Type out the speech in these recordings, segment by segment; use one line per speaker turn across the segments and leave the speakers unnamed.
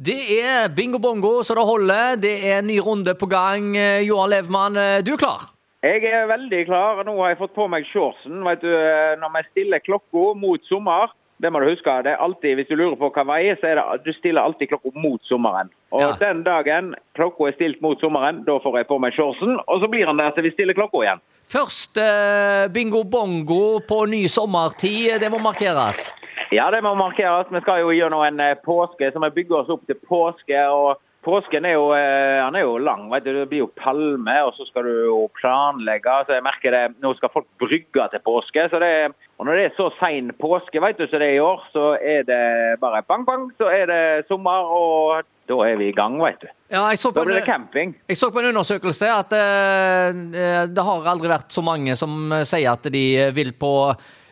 Det er bingo bongo så det holder. Det er en ny runde på gang. Eh, Johan Levmann, eh, du er klar?
Jeg er veldig klar. Nå har jeg fått på meg shortsen. Vet du, eh, når vi stiller klokka mot sommer det må du huske, det er alltid, Hvis du lurer på hva veier, så er det at du stiller alltid klokka mot sommeren. Og
Ja.
Den dagen klokka er stilt mot sommeren, da får jeg på meg shortsen, og så blir den der til vi stiller klokka igjen.
Først eh, bingo bongo på ny sommertid. eh, Det må markeres.
Ja, det må markeres. Vi skal jo gjennom en eh, påske som vi bygger oss opp til påske. og Påsken er jo, eh, han er jo lang. vet du. Det blir jo palme, og så skal du jo planlegge. Så jeg merker det, Nå skal folk brygge til påske. så det, og Når det er så sein påske vet du, som det er i år, så er det bare bang-bang. Så er det sommer, og da er vi i gang, vet du.
Ja, jeg, så på
Da blir det
en,
camping.
jeg så på en undersøkelse at eh, eh, det har aldri vært så mange som eh, sier at de eh, vil på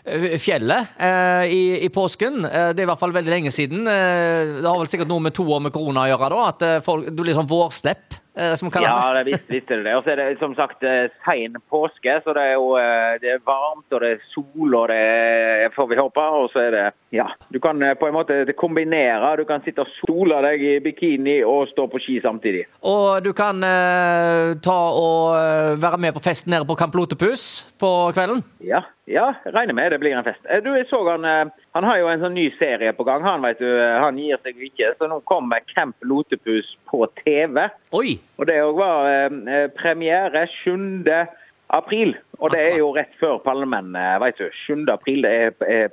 eh, fjellet eh, i, i påsken. Eh, det er i hvert fall veldig lenge siden. Eh, det har vel sikkert noe med to år med korona å gjøre, da. At eh, folk, det blir sånn vårstepp, eh, som kaller
Ja,
det.
det visste, visste du det. Og så er det som sagt eh, sein påske, så det er jo eh, det er varmt og det er sol og det er, får vi håpe. Og så er det ja, du kan eh, på en måte kombinere. Du kan sitte og sole deg i bikini og stå på ski samtidig.
Og du kan eh, ta og eh, være med på festen nede på Kamp Lotepus på kvelden.
Ja, ja, regner med det blir en fest. Eh, Du, jeg så han eh, Han har jo en sånn ny serie på gang, han vet du. eh, Han gir seg jo ikke. Så nå kommer Camp Lotepus på TV.
Oi!
Og det òg var eh, premiere 7. april. Og det er jo rett før palmen, eh, vet du. 7. april det er, er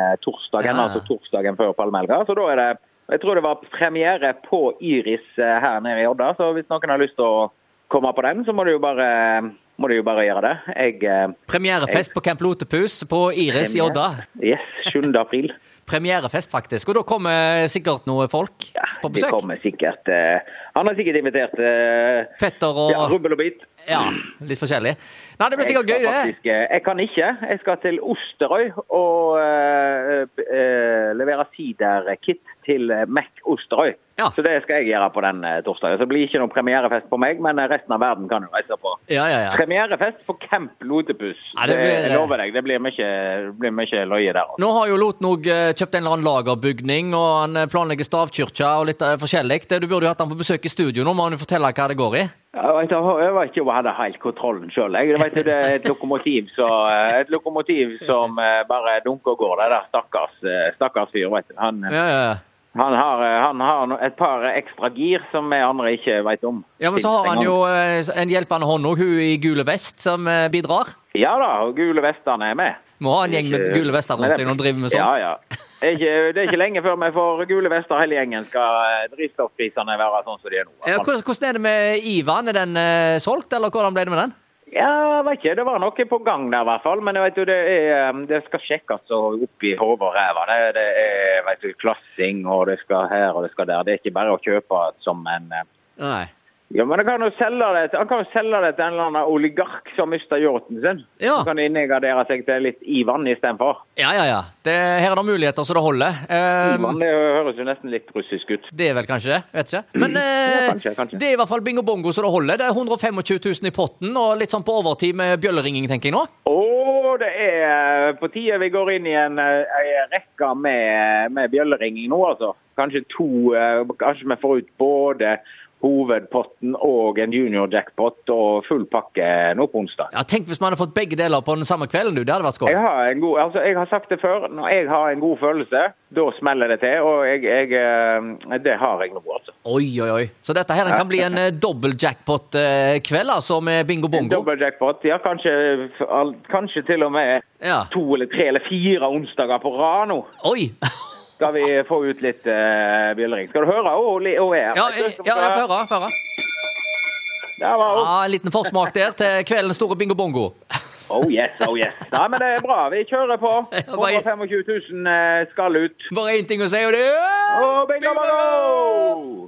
palmetorsdagen,
Ja.
altså torsdagen før palmehelga. Så da er det Jeg tror det var premiere på Iris eh, her nede i Odda, så hvis noen har lyst til å komme på den, så må du jo bare, må du jo bare gjøre det. Jeg eh,
Premierefest på Camp Lotepus på Iris i Odda.
Yes, 7. april.
Premierefest, faktisk. Og da kommer sikkert noen folk
Ja,
på
det
besøk.
kommer sikkert eh, Han har sikkert invitert eh,
Petter og
ja, rubbel og bit.
Ja, litt forskjellig. Nei, det blir sikkert
jeg
gøy,
skal
det.
faktisk, eh, Jeg kan ikke. Jeg skal til Osterøy og eh, b- eh, levere siderkit til eh, Mac Osterøy.
Ja.
Så det skal jeg gjøre på den eh, torsdagen. Så det blir ikke noen premierefest på meg, men eh, resten av verden kan jo reise på.
Ja, ja, ja.
Premierefest på Camp Lodepus.
Ja, det blir-
jeg lover deg, det blir mye, blir mye løye der. Altså.
Nå har jo Loten òg kjøpt en eller annen lagerbygning, og han eh, planlegger stavkirke og litt eh, forskjellig. Det- Du burde jo hatt han på besøk i studio nå, må han jo fortelle hva det går i.
Jeg vet ikke- jeg vet ikke om jeg hadde helt kontrollen sjøl. Det er et lokomotiv, så, eh, et lokomotiv som eh, bare dunker og går. Det der stakkars, eh, stakkars fyr. Vet du. Han, eh,
Ja, ja, ja.
Han har, eh, han har no- et par ekstra gir som vi andre ikke vet om.
Ja, men så har han jo eh, en hjelpende hånd òg, hun i gule vest, som eh, bidrar.
Ja da, og gule vestene er med.
Må ha en gjeng med gule vester rundt seg når han driver med
Ja,
sånt.
ja. Det er, ikke, det er ikke lenge før vi får gule vester hele gjengen. Skal eh, drivstoffprisene være sånn som de er nå?
Ja, hvordan hvordan er det med Ivan? Er den eh, solgt, eller hvordan ble det med den?
Ja, jeg vet ikke. Det var noe på gang der, i hvert fall. Men jeg vet jo, det, er, eh, det skal sjekkes og opp i hodet og ræva. Det, det er vet du, klassing, og det skal her og det skal der. Det er ikke bare å kjøpe som en eh,
Nei.
Ja, men han kan jo selge det, han kan jo selge det til en eller annen oligark som mister yachten sin.
Ja.
Så kan de innegardere seg til litt Ivan istedenfor.
Ja, ja, ja. Det, her er det muligheter så det holder. Eh,
Ivan det høres jo nesten litt russisk ut.
det er vel kanskje det? Vet ikke. Men eh,
Mm. Ja, kanskje, kanskje.
det er i hvert fall bingo bongo så det holder. Det er 125 000 i potten, og litt sånn på overtid med bjølleringing, tenker jeg nå.
Å, det er eh, på tide vi går inn i en, eh, en rekke med, eh, med bjølleringing nå, altså. Kanskje to eh, Kanskje vi får ut både hovedpotten og en junior jackpot og full pakke nå på onsdag.
Ja, Tenk hvis man hadde fått begge deler på den samme kvelden, du. Det hadde vært skål.
Jeg har, en god, altså jeg har sagt det før. Når jeg har en god følelse, da smeller det til. Og jeg, jeg, eh, det har jeg nå, altså.
Oi, oi, oi. Så dette her kan bli en eh, dobbel jackpot-kveld, altså, med bingo
En
bongo.
Double jackpot. Ja, kanskje, all- kanskje til og med
Ja.
to eller tre eller fire onsdager på rad nå.
Oi!
Skal vi få ut litt uh, bjellering. Skal du høre? Hun oh, er her.
Ja, jeg, ja, jeg får høre. jeg får høre.
Der var hun.
Ja, En liten forsmak der til kveldens store bingo bongo.
Oh yes, oh yes. Nei, men det er bra. Vi kjører på.
Ja, bare-
125 000 eh, skal ut.
Bare én ting å si, og det er
Og bingo! bingo!